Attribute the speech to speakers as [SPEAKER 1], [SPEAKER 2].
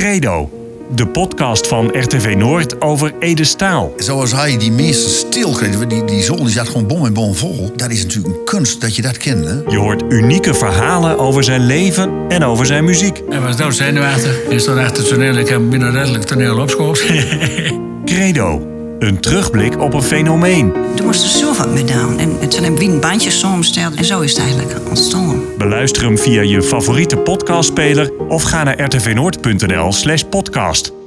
[SPEAKER 1] Credo, de podcast van RTV Noord over Ede Staal.
[SPEAKER 2] Zoals hij die meeste stil kreeg, die, die zolder die zat gewoon bom en bom vol. Dat is natuurlijk een kunst dat je dat kent. Hè?
[SPEAKER 1] Je hoort unieke verhalen over zijn leven en over zijn muziek.
[SPEAKER 3] Hij was doodzenuwachtig en stond achter het toneel. Ik heb hem binnen redelijk toneel opgeschoopt.
[SPEAKER 1] Credo, een terugblik op een fenomeen.
[SPEAKER 4] Er moest zoveel mee gedaan. En het zijn een wien bandjes samengesteld. En zo is het eigenlijk ontstaan.
[SPEAKER 1] Beluister hem via je favoriete podcastspeler of ga naar rtvnoord.nl slash podcast.